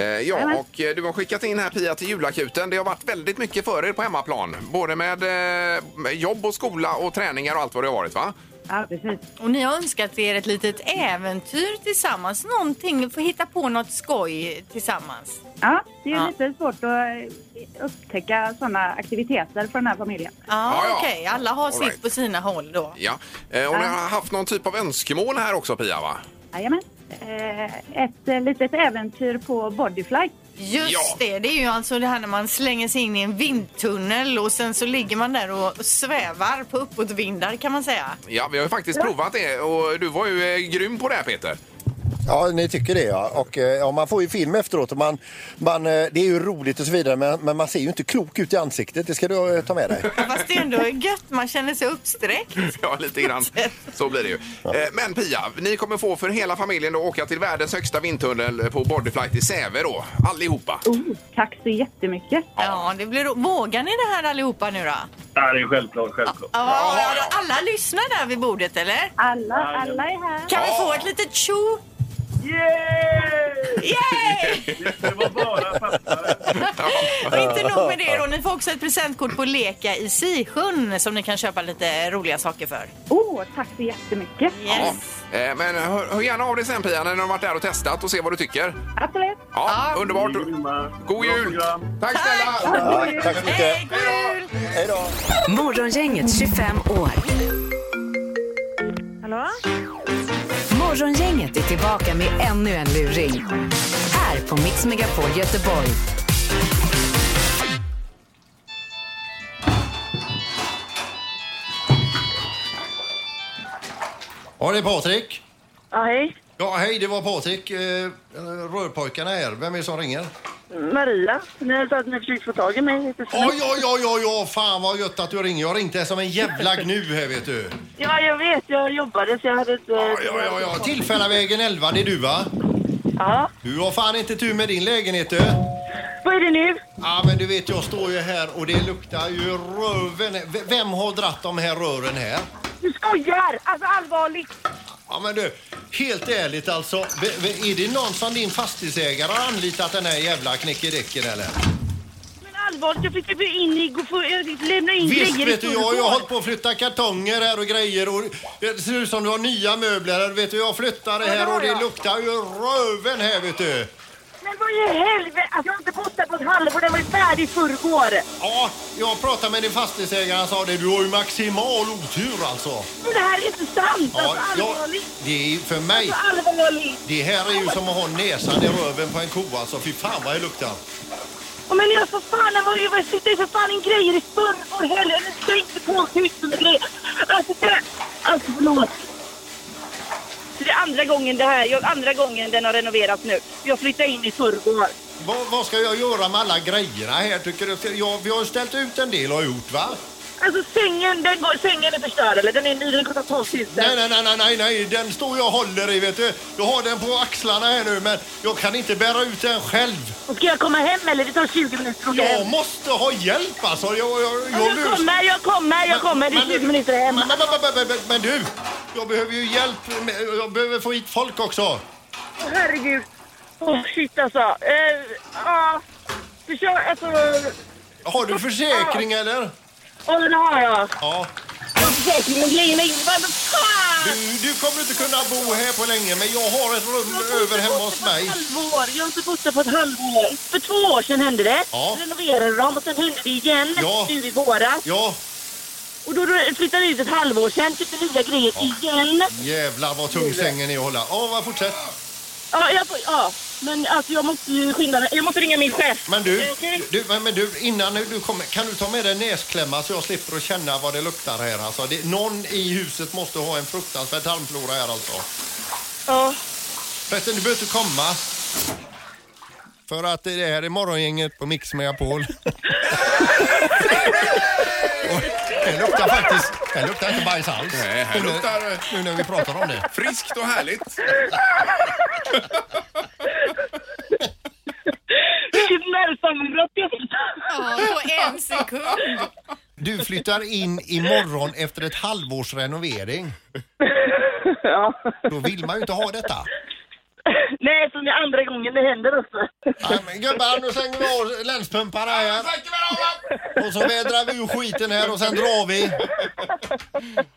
Speaker 2: Eh, ja,
Speaker 7: Jajamän.
Speaker 2: och eh, du har skickat in här Pia till julakuten. Det har varit väldigt mycket för er på hemmaplan. Både med, eh, med jobb och skola och träningar och allt vad det har varit va?
Speaker 7: Ja, precis.
Speaker 4: Och ni har önskat er ett litet äventyr tillsammans. Någonting, få hitta på något skoj tillsammans.
Speaker 7: Ja, det är
Speaker 4: Ja.
Speaker 7: lite svårt att eh, upptäcka sådana aktiviteter för den här familjen.
Speaker 4: Ja,
Speaker 2: Ja, ja.
Speaker 4: okej. Alla har
Speaker 2: All
Speaker 4: sitt
Speaker 2: right.
Speaker 4: på sina håll då.
Speaker 2: Ja. Eh, och ni har haft någon typ av önskemål här också Pia va?
Speaker 7: Jajamän. Eh, Ett eh, litet äventyr på Bodyfly.
Speaker 4: Just
Speaker 2: Ja.
Speaker 4: det, det är ju alltså det här när man slänger sig in i en vindtunnel och sen så ligger man där och svävar på uppåtvindar kan man säga.
Speaker 2: Ja, vi har ju faktiskt provat det och du var ju eh, grym på det här Peter.
Speaker 10: Ja, ni tycker det ja. Och eh, ja, man får ju film efteråt och man, man, eh, det är ju roligt och så vidare men, men man ser ju inte klok ut i ansiktet. Det ska du eh, ta med dig.
Speaker 4: Fast det ändå är gött, man känner sig uppsträckt.
Speaker 2: <laughs> Ja, lite grann. Så blir det ju. Eh, Men Pia, ni kommer få för hela familjen då åka till världens högsta vindtunnel på Bodyflight i Säve då. Allihopa.
Speaker 7: Oh, tack så jättemycket.
Speaker 4: Ja, det blir ro- Vågar ni det här allihopa nu då?
Speaker 8: Ja, det är självklart, självklart.
Speaker 4: Ja, ja, alla lyssnar där vid bordet eller?
Speaker 7: Alla, alla är här.
Speaker 4: Kan vi få ett litet tjo?
Speaker 8: Yay!
Speaker 4: Yay!
Speaker 8: Det var bara fattare.
Speaker 4: Och inte nog med det då, ni får också ett presentkort på Leka i Sisjön som ni kan köpa lite roliga saker för.
Speaker 7: Åh, tack så jättemycket.
Speaker 2: Ja.
Speaker 4: Yes.
Speaker 2: Eh, Men hör, hör gärna av dig sen Pia när du har varit där och testat och se vad du tycker.
Speaker 7: Absolut.
Speaker 2: Ja,
Speaker 4: Ja.
Speaker 2: underbart. God jul! Tack snälla!
Speaker 10: Ja, tack så mycket.
Speaker 4: Hej, god jul!
Speaker 10: Hej då.
Speaker 1: Morgongänget 25 år.
Speaker 7: Hallå?
Speaker 1: Morgongänget är tillbaka med ännu en luring. Här på Mix Megapol Göteborg.
Speaker 5: Ja, det är Patrik.
Speaker 7: Ja, hej.
Speaker 5: Ja, hej, det var Patrik. Eh, Rörpojkarna här. Vem är det som ringer?
Speaker 7: Maria. Ni sa att ni försökte få tag i mig. Inte så
Speaker 5: Oj,
Speaker 7: mycket.
Speaker 5: oj, oj, oj, oj, fan vad gött att du ringer. Jag ringde som en jävla gnu här vet du.
Speaker 7: Ja, jag vet. Jag jobbade så jag hade eh, inte...
Speaker 5: Ja, ja, ja, ja. Tillfällavägen 11, det är du va?
Speaker 7: Ja.
Speaker 5: Du har fan inte tur med din lägenhet du.
Speaker 7: Vad är det nu?
Speaker 5: Ja, men du vet jag står ju här och det luktar ju röven. V- Vem har dratt de här rören här?
Speaker 7: Du skojar! Alltså allvarligt.
Speaker 5: Ja men du, helt ärligt alltså. v- v- Är det någon som din fastighetsägare har anlitat den här jävla knickedicken eller?
Speaker 7: Men allvarligt, jag fick typ in i... gå- jag lämnade in
Speaker 5: Visst
Speaker 7: grejer
Speaker 5: vet du,
Speaker 7: i
Speaker 5: jag har ju
Speaker 7: skolgården.
Speaker 5: hållit på att flytta kartonger här och grejer och det ser ut som du har nya möbler här. Vet du, jag flyttade
Speaker 7: Ja, det
Speaker 5: här och
Speaker 7: har
Speaker 5: det
Speaker 7: jag.
Speaker 5: luktar ju röven här vet du.
Speaker 7: Men vad i helvete! Alltså jag har inte bott där på ett halvår. Den var ju färdig i förrgår.
Speaker 5: Ja, jag pratade med din fastighetsägare han sa det. Du har ju maximal otur alltså.
Speaker 7: Men det här är inte sant!
Speaker 5: Ja,
Speaker 7: alltså
Speaker 5: jag,
Speaker 7: allvarligt.
Speaker 5: det är för mig.
Speaker 7: Alltså allvarligt.
Speaker 5: Det här är ju som att ha näsan i röven på en ko alltså. Fy fan vad det luktar.
Speaker 7: Ja, Men jag för fan, jag var ju- jag sitter ju för fan i grejer i förrgår heller. Jag tänkte på tusen grejer. Alltså det... Alltså förlåt. Det är andra gången det här, jag, andra gången den har renoverats nu. Jag flyttade in i förrgår.
Speaker 5: Vad, vad ska jag göra med alla grejerna här tycker du? Ja, vi har ju ställt ut en del har jag gjort va?
Speaker 7: Alltså sängen, den går, sängen är förstörd eller? Den är ny, den kostar 12 000.
Speaker 5: Nej, nej, nej, nej, nej, nej, den står jag och håller i vet du. Jag har den på axlarna här nu men jag kan inte bära ut den själv.
Speaker 7: Och ska jag komma hem eller? Det tar 20 minuter att åka hem.
Speaker 5: Jag måste ha hjälp alltså. Jag, jag, jag,
Speaker 7: Jag
Speaker 5: lus-
Speaker 7: kommer, jag kommer, jag kommer. Det är
Speaker 5: Men- men-
Speaker 7: 20 minuter hem.
Speaker 5: Men, men, men, men, men, men du, Jag behöver ju hjälp. med- Jag behöver få hit folk också.
Speaker 7: Åh, herregud. Åh shit alltså. Eh, Ja, du kör alltså.
Speaker 5: Har du försäkring eller?
Speaker 7: Ja, den har jag.
Speaker 5: Ja.
Speaker 7: Jag har försäkring, men grejen är... Vad fan!
Speaker 5: Du, du kommer inte kunna bo här på länge, men jag har ett rum över hemma hos mig.
Speaker 7: Halvår. Jag har inte bott där på ett halvår. För två år sedan hände det.
Speaker 5: Ja.
Speaker 7: Renoverade dem och sen hände det igen
Speaker 5: Ja.
Speaker 7: nu i våras.
Speaker 5: Ja,
Speaker 7: Och då flyttade vi ut ett halvår sedan, köpte nya grejer igen.
Speaker 5: jävlar vad tung sängen är att hålla. Ja, vad fortsätt.
Speaker 7: Ja, jag får, ja. Men alltså jag måste ju skynda mig. Jag måste ringa min chef.
Speaker 5: Men du,
Speaker 7: Okej.
Speaker 5: du, men men du innan du kommer, kan du ta med dig en näsklämma så jag slipper att känna vad det luktar här alltså. Det, någon i huset måste ha en fruktansvärd tarmflora här alltså.
Speaker 7: Ja.
Speaker 5: Förresten, du behöver inte komma. För att det här är morgongänget på Mix
Speaker 7: <laughs>
Speaker 5: Megapol. Och Det luktar faktiskt, det luktar inte bajs alls.
Speaker 2: Nej, här
Speaker 5: Nu-
Speaker 2: luktar-
Speaker 5: Nu när vi pratar om det.
Speaker 2: Friskt och härligt.
Speaker 7: Vilket nervsammanbrott jag fick.
Speaker 8: Ja, på en sekund.
Speaker 5: Du flyttar in imorgon efter ett halvårs renovering.
Speaker 7: Ja.
Speaker 5: Då vill man ju inte ha detta.
Speaker 7: Nej, som det är andra gången det händer också.
Speaker 5: Nej, men gubbar, nu slänger vi av länspumpar här. Och så vädrar vi ur skiten här och sen drar vi.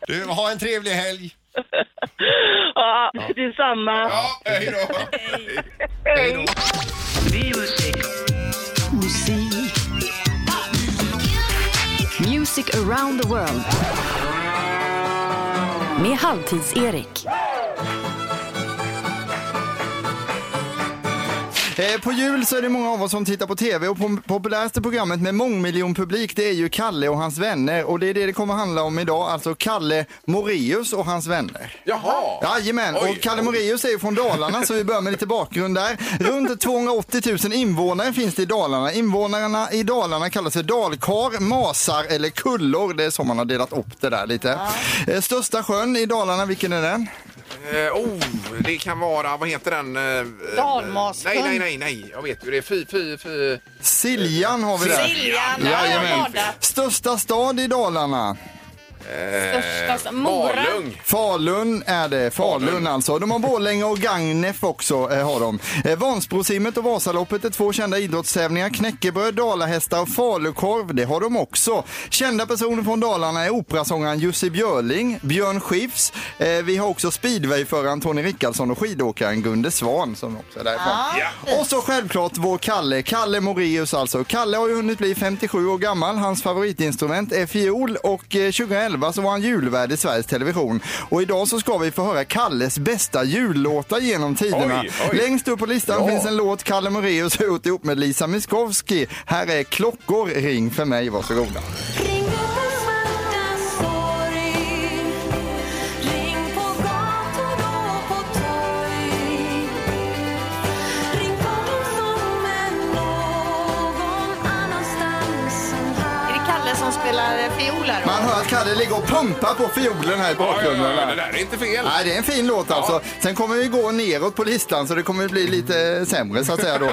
Speaker 5: Du, ha en trevlig helg.
Speaker 7: Ja, det är samma.
Speaker 2: Ja, hej då.
Speaker 1: Music around the world. Med Halvtids-Erik.
Speaker 6: Eh, På jul så är det många av oss som tittar på tv och pom- populäraste programmet med mångmiljonpublik det är ju Kalle och hans vänner och det är det det kommer handla om idag, alltså Kalle Moreus och hans vänner.
Speaker 2: Jaha.
Speaker 6: Jajamän,
Speaker 2: Oj.
Speaker 6: och Kalle Moreus är ju från Dalarna så vi börjar med lite bakgrund där. Runt 280 000 invånare finns det i Dalarna. Invånarna i Dalarna kallas för dalkar, masar eller kullor. Det är så man har delat upp det där lite. Eh, Största sjön i Dalarna, vilken är den?
Speaker 2: Eh, oh, det kan vara, vad heter den? Eh,
Speaker 8: Dalmasen.
Speaker 2: Nej, nej, nej, nej. Jag vet ju det. är Fy, fy, fy.
Speaker 6: Siljan har vi där.
Speaker 8: Siljan,
Speaker 6: Jajamän.
Speaker 8: Arlanda,
Speaker 6: Största stad i Dalarna?
Speaker 8: största Mora.
Speaker 2: Eh, Malung.
Speaker 6: Falun är det. Falun, alltså. De har Borlänge och Gagnef också. Eh, har de. Eh, Vansbrosimmet och Vasaloppet är två kända idrottstävlingar. Knäckebröd, dalahästar och falukorv, det har de också. Kända personer från Dalarna är operasångaren Jussi Björling, Björn Skifs. Eh, vi har också speedwayföraren Tony Rickardsson och skidåkaren Gunde Svan som också är därifrån. Och så självklart vår Kalle, Kalle Moreus alltså. Kalle har ju hunnit bli 57 år gammal. Hans favoritinstrument är fiol och eh, 2011 så var han julvärd i Sveriges Television. Och idag så ska vi få höra Kalles bästa jullåtar genom tiderna.
Speaker 2: Oj, oj.
Speaker 6: Längst upp på listan
Speaker 2: Ja.
Speaker 6: finns en låt Kalle Moreus har gjort ihop med Lisa Miskovsky. Här är Klockor ring för mig, varsågoda.
Speaker 8: Är det Kalle som spelar fiol här? då?
Speaker 6: Man hör att Kalle ligger och pumpar på fiolen här i
Speaker 2: Ja, ja,
Speaker 6: bakgrunden.
Speaker 2: ja,
Speaker 6: va?
Speaker 2: det där är inte fel.
Speaker 6: Nej, det är en fin låt alltså. Sen kommer vi gå neråt på listan så det kommer bli lite sämre så att
Speaker 2: <laughs>
Speaker 6: säga då.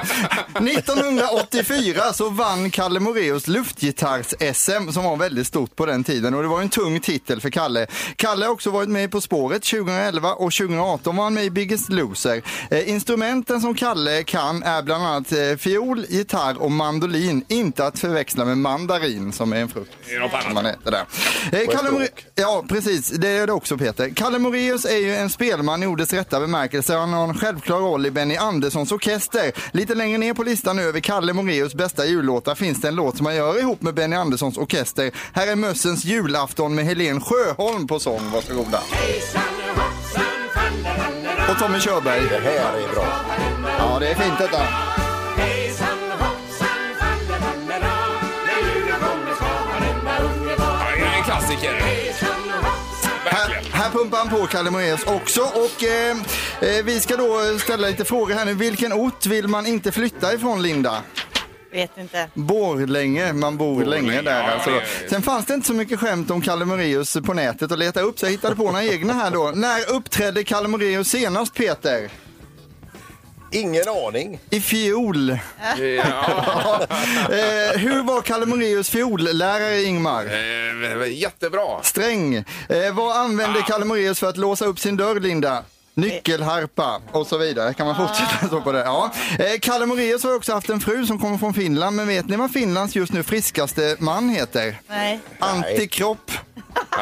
Speaker 6: 1984 så vann Kalle Moreus luftgitarrs-SM som var väldigt stort på den tiden och det var en tung titel för Kalle. Kalle har också varit med På spåret 2011 och 2018 var han med i Biggest Loser. Eh, instrumenten som Kalle kan är bland annat eh, fiol, gitarr och mandolin. Inte att förväxla med mandarin som är en frukt.
Speaker 2: Det är något annat.
Speaker 6: som man äter där. Eh, Kalle
Speaker 11: språk.
Speaker 6: More- Ja, precis. Det är det också, Peter. Kalle Moreus är ju en spelman i ordets rätta bemärkelse. Han har en självklar roll i Benny Anderssons orkester. Lite längre ner på listan över Kalle Moreus bästa jullåtar finns det en låt som han gör ihop med Benny Anderssons orkester. Här är Mössens julafton med Helen Sjöholm på sång. Varsågoda. Och Tommy Körberg.
Speaker 11: Det här är bra.
Speaker 6: Ja, det är fint detta.
Speaker 2: Ja, det är en klassiker.
Speaker 6: Här,
Speaker 2: Verkligen.
Speaker 6: här pumpar han på Kalle Moraeus också. Och, eh, eh, vi ska då ställa lite frågor här nu. Vilken ort vill man inte flytta ifrån, Linda?
Speaker 8: Vet inte.
Speaker 6: Borlänge, man bor länge där
Speaker 2: ja,
Speaker 6: alltså.
Speaker 2: det-
Speaker 6: Sen fanns det inte så mycket skämt om Kalle Moraeus på nätet att leta upp, så jag hittade på några egna här då. När uppträdde Kalle Moraeus senast, Peter?
Speaker 5: Ingen aning.
Speaker 6: I fjol.
Speaker 2: Ja.
Speaker 6: Eh, hur var Kalle Moraeus fiollärare Ingmar?
Speaker 2: Eh, Jättebra.
Speaker 6: Sträng. Eh, vad använde Kalle Moraeus för att låsa upp sin dörr Linda? Nyckelharpa och så vidare. Kan man fortsätta så på det? Ja. Eh, Kalle Moraeus har också haft en fru som kommer från Finland. Men vet ni vad Finlands just nu friskaste man heter?
Speaker 4: Nej.
Speaker 6: Antikropp.
Speaker 2: Ah,
Speaker 6: <laughs>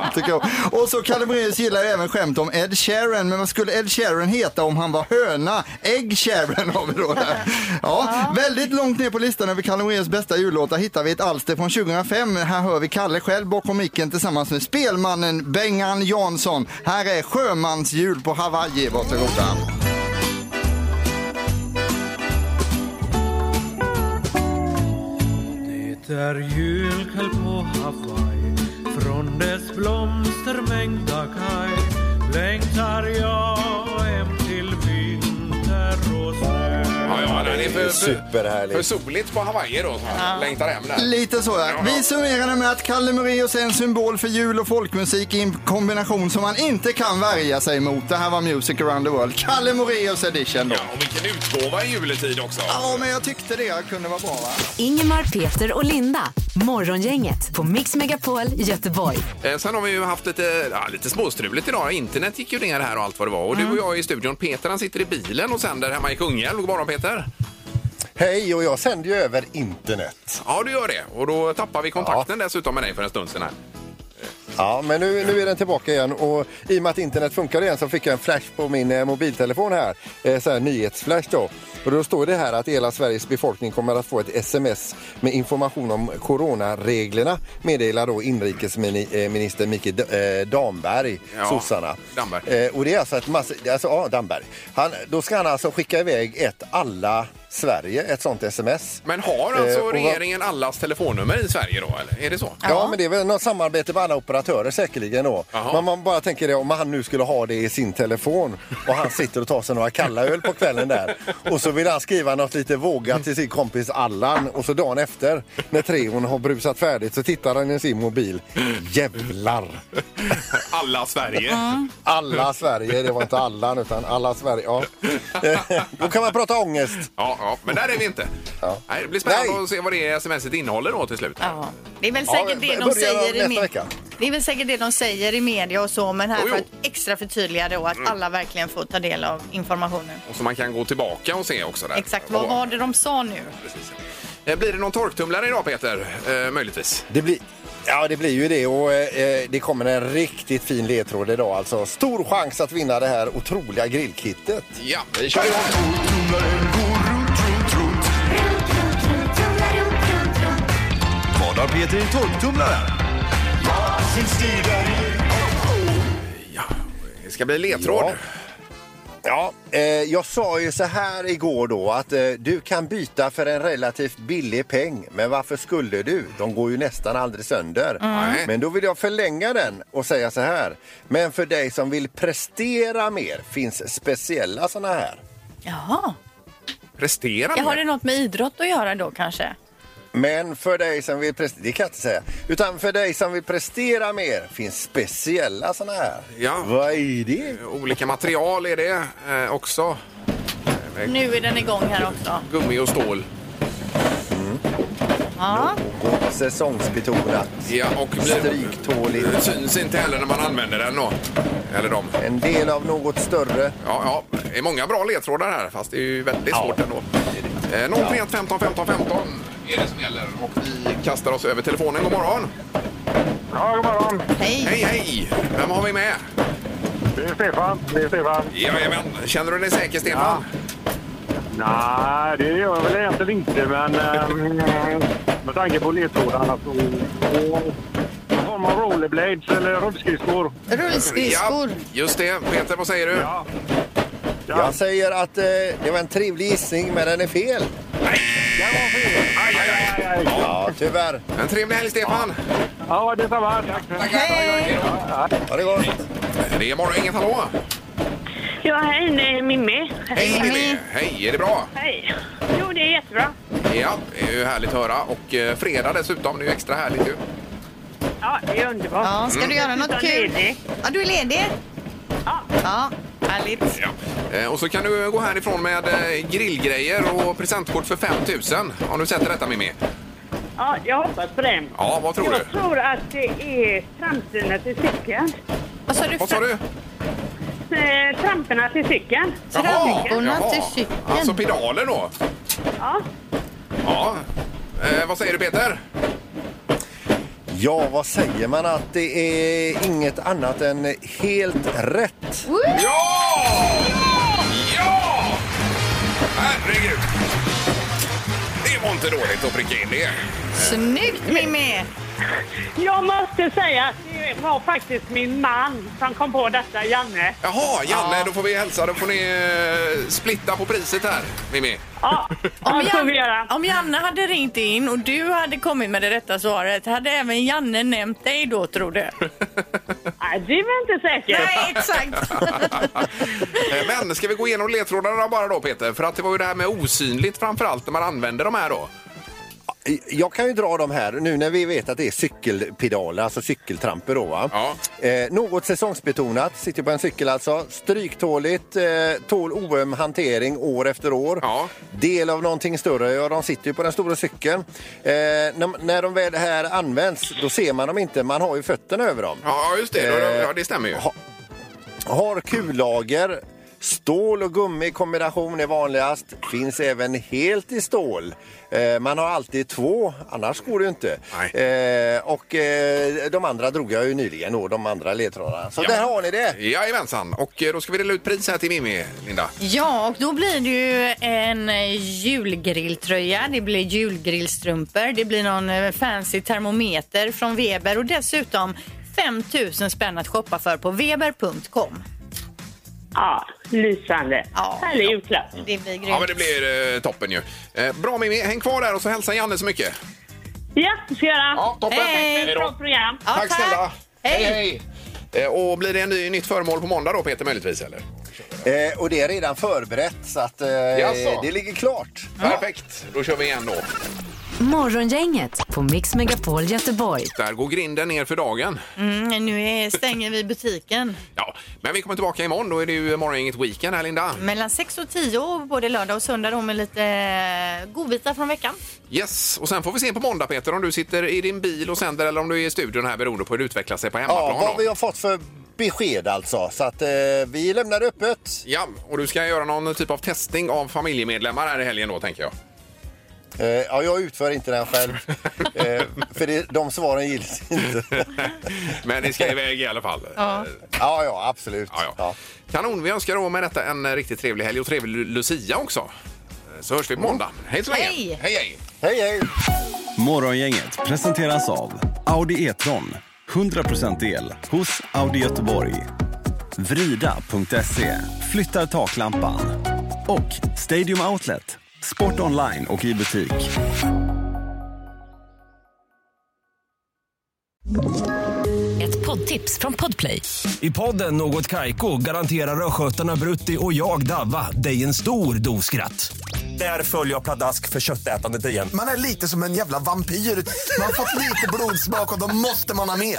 Speaker 6: Antikropp. Och så Kalle Moraeus gillar ju även skämt om Ed Sheeran. Men vad skulle Ed Sheeran heta om han var höna? Egg Sheeran har vi då där. Ja, väldigt långt ner på listan över Kalle Moraeus bästa jullåtar hittar vi ett alster från 2005. Här hör vi Kalle själv bakom micken tillsammans med spelmannen Bengan Jansson. Här är Sjömansjul på Hawaii. Varsågoda.
Speaker 12: Det är julkväll på Hawaii Från dess blomstermängda kaj Längtar jag hem till vinter och snö
Speaker 2: ja, ja, den är
Speaker 5: Det
Speaker 2: för,
Speaker 5: är
Speaker 2: för,
Speaker 5: superhärligt.
Speaker 2: för soligt på Hawaii då. Så jag Längtar hem där.
Speaker 6: Lite så ja. Vi summerade med att Kalle Moraeus är en symbol för jul och folkmusik i en kombination som man inte kan värja sig mot. Det här var Music around the world. Kalle Moraeus edition då.
Speaker 2: Ja, och vilken utgåva i juletid också.
Speaker 6: Ja, men jag tyckte det kunde vara bra va?
Speaker 1: Ingemar, Peter och Linda. Morgongänget på Mix Megapol Göteborg.
Speaker 2: Eh, Sen har vi ju haft lite, ja, lite småstruligt idag. Internet gick ju ner här och allt vad det var. Och du
Speaker 5: Mm.
Speaker 2: och jag är i studion. Peter han sitter i bilen och sänder hemma i Kungälv. God morgon Peter!
Speaker 5: Hej, och jag sänder ju över internet.
Speaker 2: Ja, du gör det. Och då tappar vi kontakten dessutom med dig för en stund sedan. Här.
Speaker 5: Ja, men nu, nu är den tillbaka igen och i och med att internet funkar igen så fick jag en flash på min eh, mobiltelefon här. Eh, så här nyhetsflash då. Och då står det här att hela Sveriges befolkning kommer att få ett sms med information om coronareglerna meddelar då inrikesminister Mikael eh, Damberg,
Speaker 2: Ja,
Speaker 5: sossarna.
Speaker 2: Damberg.
Speaker 5: Eh, och det är alltså ett massa, alltså, ja, Damberg. Han, då ska han alltså skicka iväg ett alla Sverige, ett sånt sms.
Speaker 2: Men har alltså
Speaker 5: Eh, och vad-
Speaker 2: regeringen allas telefonnummer i Sverige då, eller? Är det så?
Speaker 5: Ja, men det är väl något samarbete med alla operatörer säkerligen då.
Speaker 2: Jaha.
Speaker 5: Men man bara tänker det om han nu skulle ha det i sin telefon och han sitter och tar sig några kalla öl på kvällen där och så vill han skriva något lite vågat till sin kompis Allan och så dagen efter när treon har brusat färdigt så tittar han i sin mobil. Jävlar!
Speaker 2: <laughs> Alla Sverige.
Speaker 5: Alla Sverige, det var inte Allan utan alla Sverige. Ja. <laughs> Då kan man prata ångest.
Speaker 2: Ja, ja, men där är vi inte. Nej, det blir spännande
Speaker 5: Nej.
Speaker 2: att se vad det smset innehåller då till slut.
Speaker 4: Ja. Det är väl
Speaker 5: Ja,
Speaker 4: säkert det de
Speaker 5: börjar
Speaker 4: säger i
Speaker 5: nästa
Speaker 4: media.
Speaker 5: vecka.
Speaker 4: Det är väl säkert det de säger i media och så, men här
Speaker 2: Jo,
Speaker 4: för
Speaker 2: jo.
Speaker 4: att extra förtydliga då att alla verkligen får ta del av informationen.
Speaker 2: Och så man kan gå tillbaka och se också där.
Speaker 4: Exakt, vad var det de sa nu?
Speaker 2: Precis. Eh, Blir det någon torktumlare idag Peter? Eh, möjligtvis.
Speaker 5: Det blir... Ja, det blir ju det och eh, det kommer en riktigt fin ledtråd idag alltså. Stor chans att vinna det här otroliga grillkittet.
Speaker 2: Ja, vi kör igång.
Speaker 13: Vad har Peter i torktumlaren?
Speaker 2: Ja, det ska bli ledtråd.
Speaker 5: Ja. Ja, eh, jag sa ju så här igår då att eh, du kan byta för en relativt billig peng. Men varför skulle du? De går ju nästan aldrig sönder.
Speaker 2: Nej.
Speaker 5: Men då vill jag förlänga den och säga så här. Men för dig som vill prestera mer finns speciella sådana här.
Speaker 4: Jaha,
Speaker 2: Prestera
Speaker 4: jag har det
Speaker 2: mer.
Speaker 4: något med idrott att göra då kanske?
Speaker 5: Men för dig som vill prestera, det kan jag inte säga. Utan för dig som vill prestera mer finns speciella sådana här.
Speaker 2: Ja.
Speaker 5: Vad är det?
Speaker 2: Olika material är det eh, också.
Speaker 4: Nu är den igång här också.
Speaker 2: Gummi och stål.
Speaker 4: Ja,
Speaker 5: Något säsongsbetonat.
Speaker 2: Ja, och blir...
Speaker 5: Stryktåligt.
Speaker 2: Det syns inte heller när man använder den då. Eller dem.
Speaker 5: En del av något större.
Speaker 2: Ja, ja, det är många bra ledtrådar här fast det är ju väldigt svårt ändå. Eh, 031 15 15 15 är det som gäller och vi kastar oss över telefonen. God morgon!
Speaker 12: Ja, god morgon.
Speaker 4: hej.
Speaker 2: Hej, hej! Vem har vi med?
Speaker 12: Det är Stefan. Det är Stefan.
Speaker 2: Jajamän! Känner du dig säker, Stefan?
Speaker 12: Nej, det gör jag väl egentligen inte, men ehm, med tanke på ledtrådarna så... och- Någon form av rollerblades eller rullskridskor.
Speaker 4: Rullskridskor.
Speaker 2: just det. Peter, vad säger du?
Speaker 12: Ja.
Speaker 5: Jag säger att eh, det var en trevlig gissning men den är fel.
Speaker 12: Det var fel.
Speaker 2: Aj, aj, aj.
Speaker 12: Aj, aj.
Speaker 5: Ja, tyvärr.
Speaker 2: En trevlig helg, Stefan!
Speaker 12: Ja, detsamma. Tack.
Speaker 4: Hej!
Speaker 5: Ha det gott.
Speaker 2: Det är morgon, inget hallå!
Speaker 7: Ja, hej, det är Mimmi.
Speaker 2: Hej, Mimmi! Hej, är det bra?
Speaker 7: Hej. Jo, det är jättebra.
Speaker 2: Ja, det är ju härligt att höra. Och eh, fredag dessutom, det är ju extra härligt ju.
Speaker 7: Ja, det är underbart.
Speaker 2: Mm.
Speaker 14: Mm.
Speaker 4: Ja, ska du göra något
Speaker 7: Jag är
Speaker 4: kul?
Speaker 7: ledig.
Speaker 4: Ja, du är ledig?
Speaker 7: Ja.
Speaker 4: Ja. Härligt.
Speaker 2: Eh, Och så kan du gå härifrån med eh, grillgrejer och presentkort för 5 000 om du sätter detta Mimmi.
Speaker 14: Ja, jag hoppas på det.
Speaker 2: Ja, vad tror du?
Speaker 14: Jag tror att det är tramporna till cykeln.
Speaker 4: Vad sa du?
Speaker 2: Vad sa du?
Speaker 14: Eh, Tramporna till cykeln.
Speaker 2: Alltså pedaler då?
Speaker 14: Ja.
Speaker 2: Ja. Eh, vad säger du Peter?
Speaker 5: Ja, vad säger man att det är inget annat än helt rätt?
Speaker 2: Herregud! Det var inte dåligt att pricka in det.
Speaker 4: Snyggt Mimmi!
Speaker 14: Jag måste säga att det var faktiskt min man som kom på detta, Janne.
Speaker 2: Jaha, Janne, då får vi hälsa. Då får ni eh, splitta på priset här, Mimmi.
Speaker 4: <laughs> Om, Jan, om Janne hade ringt in och du hade kommit med det rätta svaret, hade även Janne nämnt dig då tror du?
Speaker 14: <laughs> Nej, det är väl inte säkert.
Speaker 4: Nej, exakt.
Speaker 2: Eh, Men ska vi gå igenom ledtrådarna bara då, Peter? För att det var ju det här med osynligt framför allt när man använder de här då.
Speaker 5: Jag kan ju dra de här nu när vi vet att det är cykelpedaler, alltså cykeltramper då va. Eh, något säsongsbetonat, sitter på en cykel alltså. Stryktåligt, eh, tål oöm hantering år efter år. Del av någonting större, ja de sitter ju på den stora cykeln. Eh, när, när de väl här används, då ser man dem inte, man har ju fötterna över dem.
Speaker 2: Ja, just det.
Speaker 5: Eh,
Speaker 2: ja, det stämmer ju.
Speaker 5: Har kullager. Stål och gummi i kombination är vanligast. Finns även helt i stål. Eh, man har alltid två, annars går det ju inte. Eh, och eh, de andra drog jag ju nyligen då, de andra ledtrådarna. Så där har ni det!
Speaker 2: Jajamensan. Och eh, då ska vi dela ut pris här till Mimmi, Linda.
Speaker 4: Ja, och då blir det ju en eh, julgrilltröja, det blir julgrillstrumpor, det blir någon eh, fancy termometer från Weber och dessutom 5 000 spänn att shoppa för på weber.com.
Speaker 14: Ja, lysande. Härlig julklapp.
Speaker 4: Det blir grymt.
Speaker 2: Ja, men det blir eh, toppen ju. Eh, bra Mimmi, häng kvar där och så hälsa Janne så mycket.
Speaker 14: Ja, det ska jag göra.
Speaker 2: Ja, toppen.
Speaker 14: Hej.
Speaker 2: Hej då.
Speaker 14: Bra program.
Speaker 2: Tack snälla. Hej, hej. Eh, Och blir det en ny, nytt föremål på måndag då Peter möjligtvis eller?
Speaker 5: Eh, och det är redan förberett så att eh,
Speaker 2: Jaså?
Speaker 5: det ligger klart.
Speaker 2: Perfekt, då kör vi igen då.
Speaker 1: Morgongänget på Mix Megapol Göteborg.
Speaker 2: Där går grinden ner för dagen.
Speaker 4: Mm, nu är, stänger vi butiken.
Speaker 2: Ja, men vi kommer tillbaka imorgon. Då är det ju morgongänget weekend här Linda.
Speaker 4: Mellan 6 och 10 både lördag och söndag då med lite eh, godbitar från veckan.
Speaker 2: Yes, och sen får vi se på måndag Peter om du sitter i din bil och sänder eller om du är i studion här beroende på hur det utvecklar sig på
Speaker 5: Ja,
Speaker 2: hemmaplan.
Speaker 5: vad
Speaker 2: då.
Speaker 5: vi har fått för besked alltså. Så att eh, vi lämnar det öppet.
Speaker 2: Ja, och du ska göra någon typ av testning av familjemedlemmar här i helgen då tänker jag.
Speaker 5: Eh, ja, jag utför inte
Speaker 2: <laughs>
Speaker 5: den själv. eh, för det, de svaren gills inte.
Speaker 2: Men ni ska iväg i alla fall.
Speaker 5: Ja. ja, ja, absolut.
Speaker 2: Ja, ja. Kanon, vi önskar då med detta en riktigt trevlig helg och trevlig Lu- Lucia också. Eh, Så hörs vi på
Speaker 5: Mm.
Speaker 2: måndag. Hej så länge!
Speaker 13: Hej.
Speaker 2: Hej, hej!
Speaker 5: Hej, hej!
Speaker 13: Morgongänget presenteras av Audi E-tron. 100% el hos Audi Göteborg. Vrida.se. Flyttar taklampan. Och Stadium Outlet. Sport online och i butik.
Speaker 1: Ett poddtips från Podplay.
Speaker 15: I podden Något Kaiko garanterar östgötarna Brutti och jag, Davva, dig en stor dos skratt. Där följer jag pladask för köttätandet igen.
Speaker 16: Man är lite som en jävla vampyr. Man har fått lite blodsmak och då måste man ha mer.